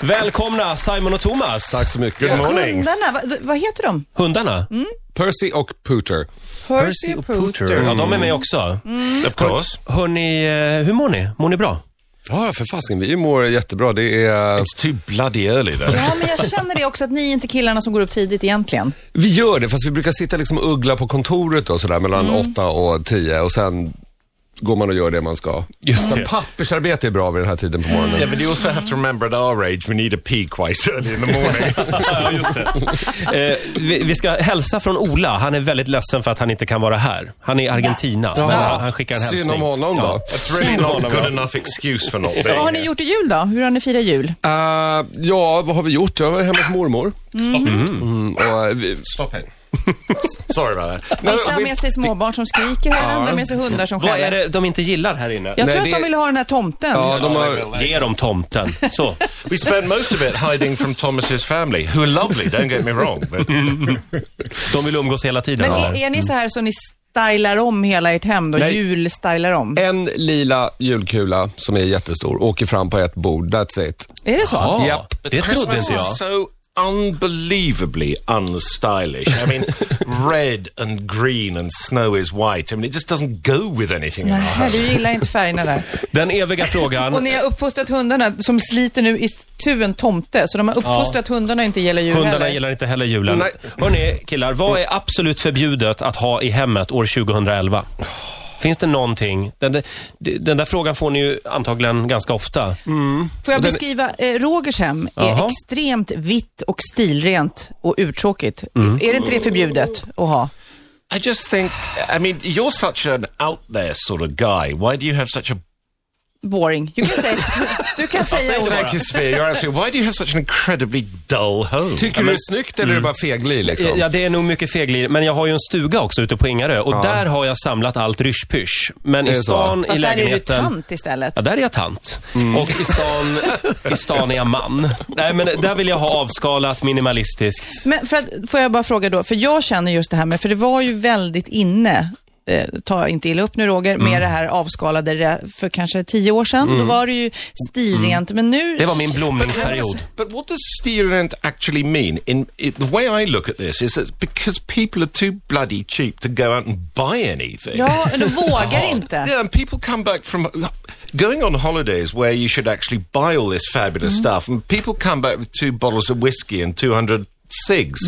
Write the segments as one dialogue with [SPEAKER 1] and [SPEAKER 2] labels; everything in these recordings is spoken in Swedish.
[SPEAKER 1] Välkomna Simon och Thomas.
[SPEAKER 2] Tack så mycket. Good morning.
[SPEAKER 3] Hundarna, vad, vad heter de?
[SPEAKER 1] Hundarna.
[SPEAKER 2] Percy och Pooter.
[SPEAKER 3] Percy och Pooter.
[SPEAKER 1] Ja, de är med också.
[SPEAKER 4] Of course.
[SPEAKER 1] Hörni, eh, hur mår ni? Mår ni bra?
[SPEAKER 2] Ja, för fasken. Vi mår jättebra. Det är...
[SPEAKER 4] It's too bloody early though.
[SPEAKER 3] Ja, men jag känner det också att ni är inte killarna som går upp tidigt egentligen.
[SPEAKER 2] Vi gör det, fast vi brukar sitta liksom och uggla på kontoret och sådär mellan åtta och tio och sen går man och gör det man ska.
[SPEAKER 4] Just
[SPEAKER 2] Så
[SPEAKER 4] det.
[SPEAKER 2] pappersarbete är bra vid den här tiden på morgonen.
[SPEAKER 4] Yeah, but you also have to remember at our age we need a pee quite early in the morning.
[SPEAKER 1] Eh, vi, vi ska hälsa från Ola. Han är väldigt ledsen för att han inte kan vara här. Han är i Argentina. Men han, han skickar en hälsning.
[SPEAKER 2] Synd om honom då.
[SPEAKER 4] It's really not a good enough excuse for not being
[SPEAKER 3] Vad har ni gjort i jul då? Hur har ni firat jul?
[SPEAKER 2] Eh, ja, vad har vi gjort? Jag var hemma hos mormor. Mm, och, eh, vi,
[SPEAKER 4] Stop it. Sorry about that.
[SPEAKER 3] Vissa har med sig småbarn som skriker och andra har med sig hundar som
[SPEAKER 1] Vad är
[SPEAKER 3] skäller.
[SPEAKER 1] det de inte gillar här inne?
[SPEAKER 3] Jag
[SPEAKER 2] Nej,
[SPEAKER 3] tror att
[SPEAKER 2] det-
[SPEAKER 3] de vill ha den här tomten.
[SPEAKER 2] ja, de har,
[SPEAKER 1] Ge dem tomten. Så.
[SPEAKER 4] We spent most of it hiding from Thomas's family, who are lovely, don't get me wrong. But
[SPEAKER 1] De vill umgås hela tiden.
[SPEAKER 3] Men
[SPEAKER 1] eller?
[SPEAKER 3] är, är ni så här så ni stylar om hela ert hem då?
[SPEAKER 2] Nej.
[SPEAKER 3] Julstylar om?
[SPEAKER 2] en lila julkula som är jättestor, åker fram på ett bord. That's it.
[SPEAKER 3] Är det så?
[SPEAKER 1] Ja,
[SPEAKER 2] Japp.
[SPEAKER 1] det trodde
[SPEAKER 4] Christmas
[SPEAKER 1] inte jag.
[SPEAKER 4] is so unbelievably unstylish. I mean, red and green and snow is white. I mean, it just doesn't go with anything in our
[SPEAKER 3] Nej,
[SPEAKER 4] house.
[SPEAKER 3] du gillar inte färgerna där.
[SPEAKER 1] Den eviga frågan.
[SPEAKER 3] Och ni har uppfostrat hundarna som sliter nu i tu en tomte, så de har uppfostrat hundarna och inte gillar jul
[SPEAKER 1] Hundarna
[SPEAKER 3] heller.
[SPEAKER 1] gillar inte heller julen.
[SPEAKER 2] Nej.
[SPEAKER 1] Hörni, killar. Vad är absolut förbjudet att ha i hemmet år 2011? Finns det någonting? Den, där- den där frågan får ni ju antagligen ganska
[SPEAKER 2] Mm.
[SPEAKER 1] ofta.
[SPEAKER 3] Får jag beskriva, eh, Rogers hem är
[SPEAKER 1] Jaha.
[SPEAKER 3] extremt vitt och stilrent och urtråkigt.
[SPEAKER 1] Mm.
[SPEAKER 3] Är det inte det förbjudet att ha?
[SPEAKER 4] I just think, I mean, you're such an out there sort of guy. Why do you have such a
[SPEAKER 3] Boring. You can say, du kan säga ordet.
[SPEAKER 4] Thank you, Sophia. You're absolutely. Why do you have such an incredibly dull home?
[SPEAKER 2] Tycker du det är snyggt eller är det bara feglir liksom?
[SPEAKER 1] Eh, Ja, det är nog mycket feglir. Men jag har ju en stuga också ute på Ingarö och där har jag samlat allt ryschpysch. Men i
[SPEAKER 2] Det är så.
[SPEAKER 1] stan, i
[SPEAKER 3] Fast där är du
[SPEAKER 1] lägenheten...
[SPEAKER 3] tant istället.
[SPEAKER 1] Ja, där är jag tant.
[SPEAKER 2] Mm.
[SPEAKER 1] Och i stan, i stan är jag man. Nej, men där vill jag ha avskalat minimalistiskt.
[SPEAKER 3] Men för att, får jag bara fråga då, för jag känner just det här med, för det var ju väldigt inne, eh, ta inte illa upp nu Roger,
[SPEAKER 1] Mm.
[SPEAKER 3] med det här avskalade re- för kanske tio år sedan. Då var det ju stilrent, men nu...
[SPEAKER 1] Mm. Det var min blomningsperiod.
[SPEAKER 4] But what does steerant actually mean? In it, the way I look at this is that because people are too bloody cheap to go out and buy anything.
[SPEAKER 3] Ja, men de vågar inte.
[SPEAKER 4] Yeah, and people come back from going on holidays where you should actually buy all this fabulous stuff, and people come back with two bottles of whiskey and 200 cigs.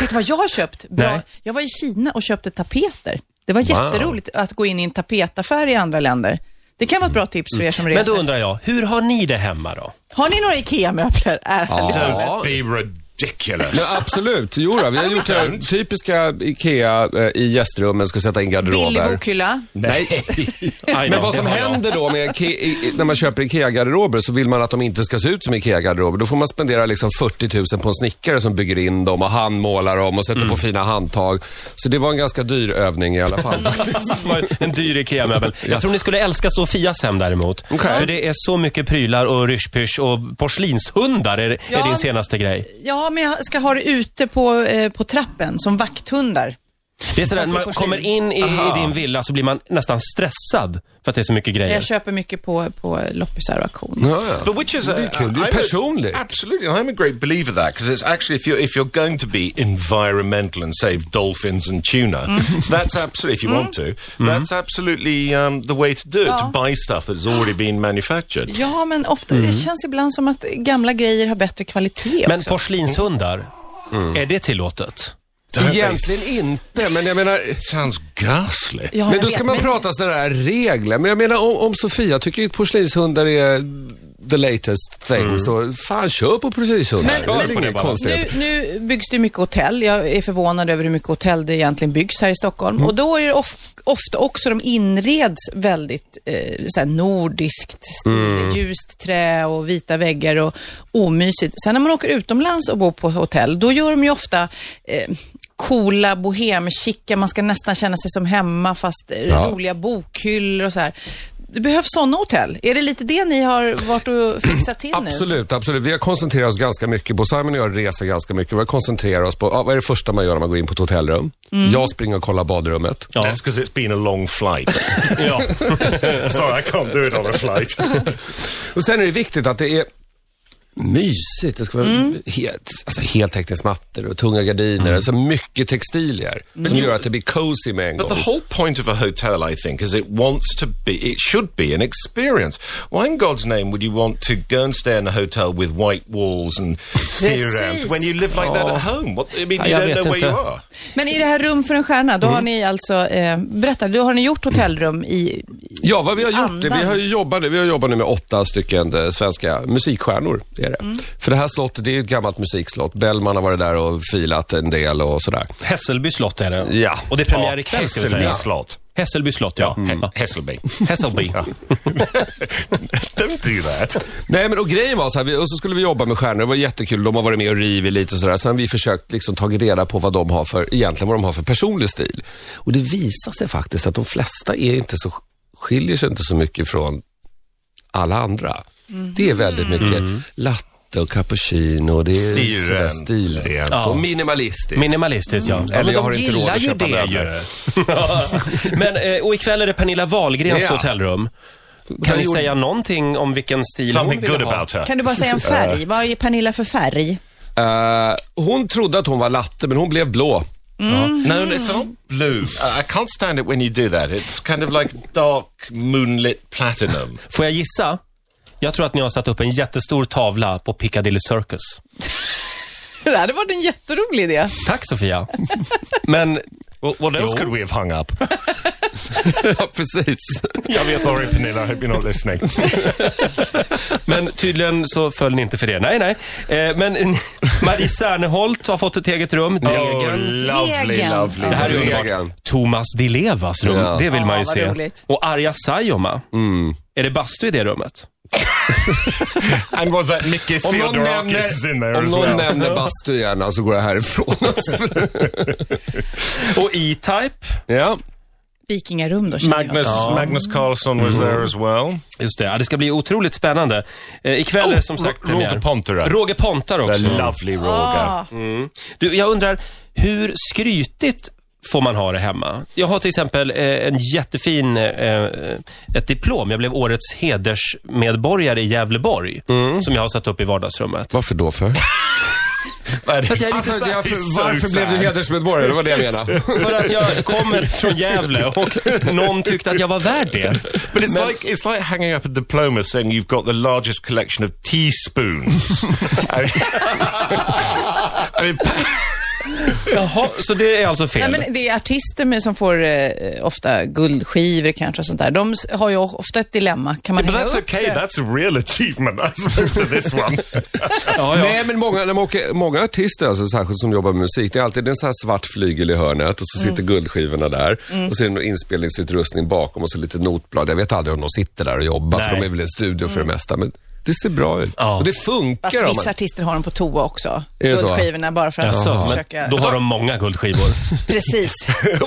[SPEAKER 3] Vet du vad jag har köpt? Bra.
[SPEAKER 1] Nej.
[SPEAKER 3] Jag var i Kina och köpte tapeter. Det var jätteroligt att gå in i en tapetaffär i andra länder. Det kan vara ett bra tips för er som
[SPEAKER 1] Men
[SPEAKER 3] reser.
[SPEAKER 1] då undrar jag, hur har ni det hemma då?
[SPEAKER 3] Har ni några IKEA-möbler? Äh, Ja.
[SPEAKER 2] Ja.
[SPEAKER 4] Don't be ridiculous.
[SPEAKER 2] Ja, absolut, jo då, Vi har gjort det här typiska IKEA eh, i gästrummen, ska sätta in
[SPEAKER 3] Billig
[SPEAKER 2] garderober.
[SPEAKER 3] bokhylla.
[SPEAKER 4] Nej.
[SPEAKER 1] Aj då,
[SPEAKER 2] Men vad som
[SPEAKER 1] det har jag.
[SPEAKER 2] händer då med Ike- i- i- när man köper IKEA-garderober så vill man att de inte ska se ut som IKEA-garderober. Då får man spendera liksom 40 000 på en snickare som bygger in dem och handmålar dem och sätter på fina handtag. Så det var en ganska dyr övning i alla fall.
[SPEAKER 1] Det var en dyr IKEA-möbel. Jag tror ni skulle älska Sofias hem däremot.
[SPEAKER 2] Okej.
[SPEAKER 1] För det är så mycket prylar och ryschpysch och porslinshundar är, är
[SPEAKER 3] Ja.
[SPEAKER 1] din senaste grej.
[SPEAKER 3] Ja, men jag ska ha det ute på, eh, på trappen som vakthundar.
[SPEAKER 1] Det är sådär,
[SPEAKER 3] Fast i
[SPEAKER 1] när man
[SPEAKER 3] porslin.
[SPEAKER 1] kommer in i, i din villa så blir man nästan stressad för att det är så mycket grejer.
[SPEAKER 3] Jag köper mycket på, på loppisar och auktion.
[SPEAKER 2] Ja, ja.
[SPEAKER 4] But which is a,
[SPEAKER 2] Det är kul. Det är
[SPEAKER 4] I'm a-
[SPEAKER 2] personligt.
[SPEAKER 4] absolutely, and I'm a great believer of that because it's actually if you're if you're going to be environmental and save dolphins and tuna, that's absolutely if you want to, that's absolutely um, the way to do it. To buy stuff that's already been manufactured.
[SPEAKER 3] Ja, men ofta, det känns ibland som att gamla grejer har bättre kvalitet.
[SPEAKER 1] Men porslinshundar,
[SPEAKER 2] Mm.
[SPEAKER 1] är det tillåtet?
[SPEAKER 4] Don't they-
[SPEAKER 2] Egentligen inte, men jag menar...
[SPEAKER 4] sounds ghastly.
[SPEAKER 3] Ja,
[SPEAKER 2] Men
[SPEAKER 3] jag
[SPEAKER 2] då
[SPEAKER 3] vet,
[SPEAKER 2] ska man prata sådana här regler. Men jag menar om, om Sofia tycker ju att porslinshundar är the latest thing, så fan kör på porslinshundar.
[SPEAKER 3] Mm. Men-
[SPEAKER 2] det är
[SPEAKER 3] men-
[SPEAKER 2] väl inget
[SPEAKER 1] Nu-
[SPEAKER 2] konstigt.
[SPEAKER 3] Nu, nu byggs det mycket hotell. Jag är förvånad över hur mycket hotell det egentligen byggs här i Stockholm.
[SPEAKER 2] Mm.
[SPEAKER 3] Och då är det of, ofta också de inreds väldigt eh, så här nordiskt, stil,
[SPEAKER 2] Mm.
[SPEAKER 3] ljust trä och vita väggar och omysigt. Sen när man åker utomlands och bor på hotell, då gör de ju ofta eh, coola bohemchicka, man ska nästan känna sig som hemma fast eh,
[SPEAKER 2] Ja.
[SPEAKER 3] roliga bokhyllor och så här. Det behövs sådana hotell. Är det lite det ni har varit och fixat till nu?
[SPEAKER 2] Absolut, absolut. Vi har koncentrerat oss ganska mycket på, Simon och jag reser ganska mycket, vi har koncentrerat oss på, ja, vad är det första man gör när man går in på ett hotellrum?
[SPEAKER 3] Mm.
[SPEAKER 2] Jag springer och kollar badrummet.
[SPEAKER 1] Ja.
[SPEAKER 4] That's because it's been a long flight.
[SPEAKER 1] Ja.
[SPEAKER 4] Sorry, I can't do it on a flight.
[SPEAKER 2] Och sen är det viktigt att det är mysigt. Det ska vara
[SPEAKER 3] Mm.
[SPEAKER 2] helt, alltså, heltäckningsmattor och tunga gardiner. Alltså mycket textilier
[SPEAKER 3] Mm.
[SPEAKER 2] som gör att det blir cozy med en
[SPEAKER 4] But
[SPEAKER 2] gång.
[SPEAKER 4] the whole point of a hotel, I think, is it wants to be, it should be an experience. Why in God's name would you want to go and stay in a hotel with white walls and steer around when you live like that at home? What, I mean,
[SPEAKER 1] Ja,
[SPEAKER 4] you
[SPEAKER 1] jag
[SPEAKER 4] don't
[SPEAKER 1] vet
[SPEAKER 4] know where
[SPEAKER 1] inte.
[SPEAKER 4] you are.
[SPEAKER 3] Men i det här Rum för en stjärna, då har ni alltså, eh, berätta, då har ni gjort hotellrum i...
[SPEAKER 2] Ja, vad vi har gjort, det,
[SPEAKER 3] Andan.
[SPEAKER 2] vi har ju jobbat, nu- vi har jobbat nu med åtta stycken eh, svenska musikstjärnor. Är det. För det här slottet, det är ju ett gammalt musikslott. Bellman har varit där och filat en del och sådär.
[SPEAKER 1] Hässelby slott är det.
[SPEAKER 2] Ja. Mm.
[SPEAKER 1] Och det är premiär ikväll ska vi säga.
[SPEAKER 4] Oh, slot.
[SPEAKER 1] Hässelby slott, ja. Va?
[SPEAKER 4] Hmm. Hesselby.
[SPEAKER 1] Hässelby.
[SPEAKER 4] don't do that.
[SPEAKER 2] Nej, men och grejen var så här, vi, och så skulle vi jobba med stjärnor. Det var jättekul. De har varit med och rivit lite och sådär. Sen har vi försökt liksom tagit reda på vad de har för, egentligen vad de har för personlig stil. Och det visar sig faktiskt att de flesta är inte så, skiljer sig inte så mycket från alla andra. Det är väldigt mycket latte och cappuccino. och Det är
[SPEAKER 4] Mm. Stilrent.
[SPEAKER 2] sådär stilrent
[SPEAKER 1] Ja.
[SPEAKER 2] och minimalistiskt.
[SPEAKER 1] Minimalistiskt, ja. ja
[SPEAKER 2] Eller
[SPEAKER 1] men
[SPEAKER 2] jag
[SPEAKER 1] de
[SPEAKER 2] har inte råd
[SPEAKER 1] gillar
[SPEAKER 2] att
[SPEAKER 1] ju
[SPEAKER 2] köpa
[SPEAKER 1] det
[SPEAKER 4] Uh,
[SPEAKER 2] möbler.
[SPEAKER 1] ju. Ja. men, eh, och ikväll är det Pernilla Wahlgrens
[SPEAKER 2] Ja.
[SPEAKER 1] hotellrum. Kan
[SPEAKER 2] Hon
[SPEAKER 1] ni
[SPEAKER 2] gjorde-
[SPEAKER 1] säga någonting om vilken stil
[SPEAKER 4] Something
[SPEAKER 1] hon ville
[SPEAKER 4] good
[SPEAKER 1] ha?
[SPEAKER 4] about her.
[SPEAKER 3] Kan du bara säga en färg? Vad är Pernilla för färg?
[SPEAKER 2] Eh, hon trodde att hon var latte, men hon blev blå.
[SPEAKER 4] No, no, it's not blue. Uh, I can't stand it when you do that. It's kind of like dark moonlit platinum.
[SPEAKER 1] Får jag gissa? Jag tror att ni har satt upp en jättestor tavla på Piccadilly Circus.
[SPEAKER 3] Det hade varit en jätterolig idé.
[SPEAKER 1] Tack Sofia. Men
[SPEAKER 4] Well, what else
[SPEAKER 1] Jo.
[SPEAKER 4] could we have hung up?
[SPEAKER 2] ja, precis.
[SPEAKER 4] er Sorry, Pernilla. I hope you're not listening.
[SPEAKER 1] Men tydligen så föll ni inte för det. Nej, nej. Eh, men Marie Serneholt har fått ett eget rum.
[SPEAKER 4] Oh,
[SPEAKER 1] Degen.
[SPEAKER 4] lovely,
[SPEAKER 3] Egen.
[SPEAKER 4] lovely.
[SPEAKER 3] Det
[SPEAKER 1] Det här är
[SPEAKER 2] Degen.
[SPEAKER 1] underbart. Thomas Di Levas rum,
[SPEAKER 2] Ja. Mm.
[SPEAKER 1] det vill
[SPEAKER 3] Ja,
[SPEAKER 1] man ju
[SPEAKER 3] vad
[SPEAKER 1] se.
[SPEAKER 3] roligt.
[SPEAKER 1] Och Arja Saijonmaa. Är det bastu i det rummet?
[SPEAKER 4] And was that Nikis
[SPEAKER 2] Om någon
[SPEAKER 4] Theodorakis is in
[SPEAKER 2] nämner,
[SPEAKER 4] there
[SPEAKER 2] om
[SPEAKER 4] as
[SPEAKER 2] någon
[SPEAKER 4] well?
[SPEAKER 2] nämner bastu gärna så går jag härifrån. Alltså,
[SPEAKER 1] Och E-Type.
[SPEAKER 2] ja.
[SPEAKER 3] Vikingarum då, känner
[SPEAKER 4] Magnus, Magnus Carlson was there as well.
[SPEAKER 1] Just det, ja, det ska bli otroligt spännande. Eh, ikväll är det som
[SPEAKER 4] Oh, Ro-
[SPEAKER 1] sagt
[SPEAKER 4] Roger
[SPEAKER 1] premiär.
[SPEAKER 4] Pontare.
[SPEAKER 1] Roger Pontare
[SPEAKER 4] The
[SPEAKER 1] också.
[SPEAKER 4] Mm, lovely
[SPEAKER 3] Ah.
[SPEAKER 4] Roger.
[SPEAKER 1] Du, jag undrar, hur skrytigt får man ha det hemma? Jag har till exempel eh, en jättefin, eh, ett diplom. Jag blev årets hedersmedborgare i Gävleborg,
[SPEAKER 4] Mm.
[SPEAKER 1] som jag har satt upp i vardagsrummet.
[SPEAKER 2] Varför då för?
[SPEAKER 4] That is-
[SPEAKER 1] Alltså, jag är lite
[SPEAKER 4] that
[SPEAKER 2] Varför,
[SPEAKER 1] så-
[SPEAKER 4] is so
[SPEAKER 2] varför blev du
[SPEAKER 4] sad.
[SPEAKER 2] hedersmedborgare? Det var det jag menade.
[SPEAKER 1] För att jag kommer från Gävle och någon tyckte att jag var värd det.
[SPEAKER 4] But it's like it's like hanging up a diploma saying you've got the largest collection of teaspoons. I mean- I mean,
[SPEAKER 1] Jaha, så det är alltså fel?
[SPEAKER 3] Nej, men det är artister med, som får eh, ofta guldskivor kanske och sånt där. De s- har ju ofta ett dilemma. Kan man
[SPEAKER 4] but
[SPEAKER 3] hänga
[SPEAKER 4] that's
[SPEAKER 3] upp
[SPEAKER 4] okay.
[SPEAKER 3] det?
[SPEAKER 4] That's a real achievement as opposed to this one.
[SPEAKER 1] ja, ja.
[SPEAKER 2] Nej, men många, när man åker, många artister, alltså, särskilt som jobbar med musik, det är alltid det är en sån här svart flygel i hörnet och så
[SPEAKER 1] Mm.
[SPEAKER 2] sitter guldskivorna där och så är det någon inspelningsutrustning bakom och så lite notblad. Jag vet aldrig om de sitter där och jobbar, för
[SPEAKER 1] Nej. Mm.
[SPEAKER 2] de är väl i en studio för det mesta. Men det ser bra ut.
[SPEAKER 1] Ja.
[SPEAKER 2] Och det
[SPEAKER 3] Fast
[SPEAKER 2] funkar. om
[SPEAKER 3] vissa
[SPEAKER 2] man-
[SPEAKER 3] artister har dem på toa också.
[SPEAKER 2] Är det så?
[SPEAKER 3] Guldskivorna bara för att
[SPEAKER 1] Jaså,
[SPEAKER 3] försöka...
[SPEAKER 1] men då har de många guldskivor.
[SPEAKER 3] Precis.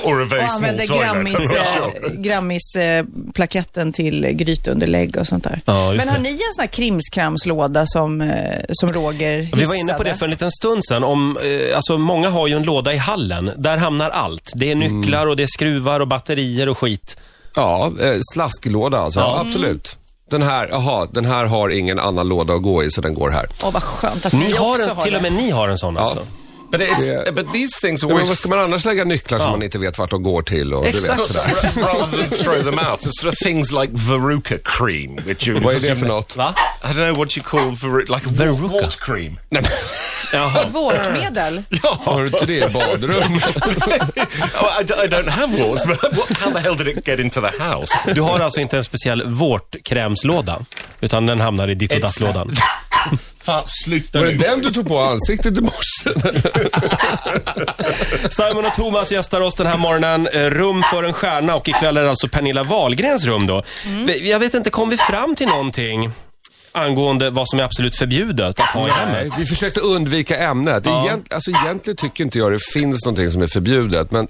[SPEAKER 4] or a very
[SPEAKER 3] Och
[SPEAKER 4] small
[SPEAKER 3] använder
[SPEAKER 4] toilet. I'm not sure.
[SPEAKER 3] Grammis-plaketten Grammis, eh, plaketten till grytunderlägg och sånt där.
[SPEAKER 1] Ja, just
[SPEAKER 3] men har
[SPEAKER 1] det.
[SPEAKER 3] ni en sån här krimskramslåda som, eh, som Roger
[SPEAKER 1] Vi var inne på det
[SPEAKER 3] hissade?
[SPEAKER 1] för en liten stund sedan. Om, eh, alltså många har ju en låda i hallen. Där hamnar allt. Det är nycklar och det är skruvar och batterier och skit.
[SPEAKER 2] Ja, eh, slasklåda alltså. Absolut. Den här, aha, den här har ingen annan låda att gå i, så den går här.
[SPEAKER 3] Åh, vad skönt att
[SPEAKER 1] Ni har
[SPEAKER 3] också
[SPEAKER 1] en, till och med ni har en sån alltså.
[SPEAKER 4] But it's but these things
[SPEAKER 2] Ja, men
[SPEAKER 4] always
[SPEAKER 2] vad ska man annars lägga nycklar som man inte vet vart de går till? Och, du vet,
[SPEAKER 4] Exactly.
[SPEAKER 2] sådär.
[SPEAKER 4] rather than throw them out. It's sort of things like Veruca cream, which you
[SPEAKER 2] Vad är det för något?
[SPEAKER 1] Va?
[SPEAKER 4] I don't know what you call Veruca, like a wa-
[SPEAKER 1] Veruca.
[SPEAKER 4] wart cream.
[SPEAKER 1] Jaha.
[SPEAKER 3] Vårtmedel?
[SPEAKER 2] Har du inte det i badrum?
[SPEAKER 4] oh, I, d- I don't have warts, but what, how the hell did it get into the house?
[SPEAKER 1] Du har alltså inte en speciell vårtkrämslåda, utan den hamnar i ditt och datt-lådan.
[SPEAKER 4] Fan, sluta
[SPEAKER 2] Var det
[SPEAKER 4] nu.
[SPEAKER 2] den du tog på ansiktet i morse?
[SPEAKER 1] Simon och Thomas gästar oss den här morgonen. Eh, Rum för en stjärna och ikväll är det alltså Pernilla Wahlgrens rum då. Vi- Jag vet inte, kom vi fram till någonting angående vad som är absolut förbjudet att ha i hemmet?
[SPEAKER 2] Vi försökte undvika ämnet. Egent, alltså, egentligen tycker inte jag det finns någonting som är förbjudet, men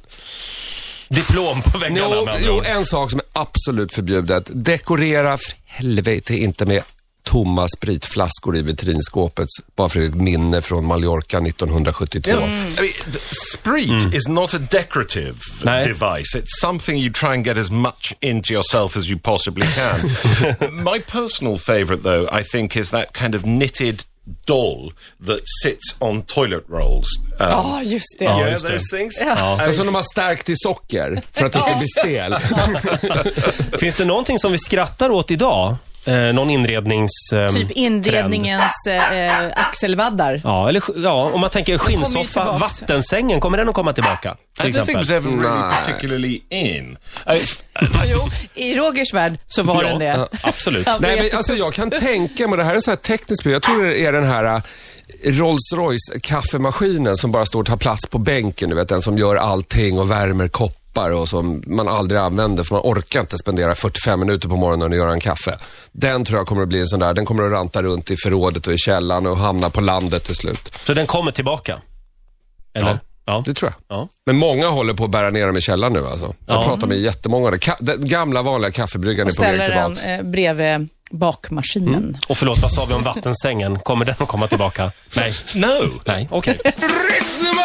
[SPEAKER 1] Diplom på väggarna
[SPEAKER 2] jo,
[SPEAKER 1] med andra
[SPEAKER 2] jo,
[SPEAKER 1] ord.
[SPEAKER 2] en sak som är absolut förbjudet. Dekorera för helvete inte med tomma spritflaskor i vitrinskåpet bara för det är ett minne från Mallorca 1972.
[SPEAKER 4] I mean, the Spreet is not a decorative
[SPEAKER 1] No.
[SPEAKER 4] device. It's something you try and get as much into yourself as you possibly can. My personal favourite, though, I think, is that kind of knitted doll that sits on toilet rolls. Um,
[SPEAKER 3] Ja, just det.
[SPEAKER 1] Ja,
[SPEAKER 4] you know
[SPEAKER 1] just det.
[SPEAKER 4] those things?
[SPEAKER 2] Alltså de har stärkt i socker för att det ska bli stel.
[SPEAKER 1] Finns det någonting som vi skrattar åt idag? Eh, någon inrednings... ehm,
[SPEAKER 3] Typ
[SPEAKER 1] trend?
[SPEAKER 3] inredningens eh, eh, axelvaddar.
[SPEAKER 1] Ja, eller ja, om man tänker
[SPEAKER 3] ju
[SPEAKER 1] skinnsoffa,
[SPEAKER 3] tillbaks.
[SPEAKER 1] vattensängen, kommer den att komma tillbaka? Till
[SPEAKER 4] I don't think it
[SPEAKER 1] exempel.
[SPEAKER 4] was ever really
[SPEAKER 2] Nah.
[SPEAKER 4] particularly in. Uh, I,
[SPEAKER 3] Ja, jo, I Rogers värld så var den det.
[SPEAKER 1] absolut.
[SPEAKER 3] Ja, det är
[SPEAKER 2] Nej, men
[SPEAKER 3] jättetufft.
[SPEAKER 2] alltså jag kan tänka mig, det här är en sån här teknisk bild. Jag tror det är den här eh, Rolls-Royce kaffemaskinen som bara står och tar plats på bänken. Du vet, den som gör allting och värmer koppar och som man aldrig använder för man orkar inte spendera 45 minuter på morgonen och göra en kaffe. Den tror jag kommer att bli en sån där, den kommer att ranta runt i förrådet och i källaren och hamna på landet till slut.
[SPEAKER 1] Så den kommer tillbaka? Eller? Ja.
[SPEAKER 2] Det tror jag.
[SPEAKER 1] Ja.
[SPEAKER 2] Men många håller på att bära ner dem i källaren nu alltså. Jag pratar med jättemånga. Ka- den gamla vanliga kaffebryggaren är på väg
[SPEAKER 3] Mm. Ställer den
[SPEAKER 2] tillbaks.
[SPEAKER 3] eh, bredvid bakmaskinen.
[SPEAKER 1] Och förlåt, vad sa vi om vattensängen? Kommer den att komma tillbaka? Nej.
[SPEAKER 4] no.
[SPEAKER 1] Nej, okej.
[SPEAKER 2] Ritzemorgon!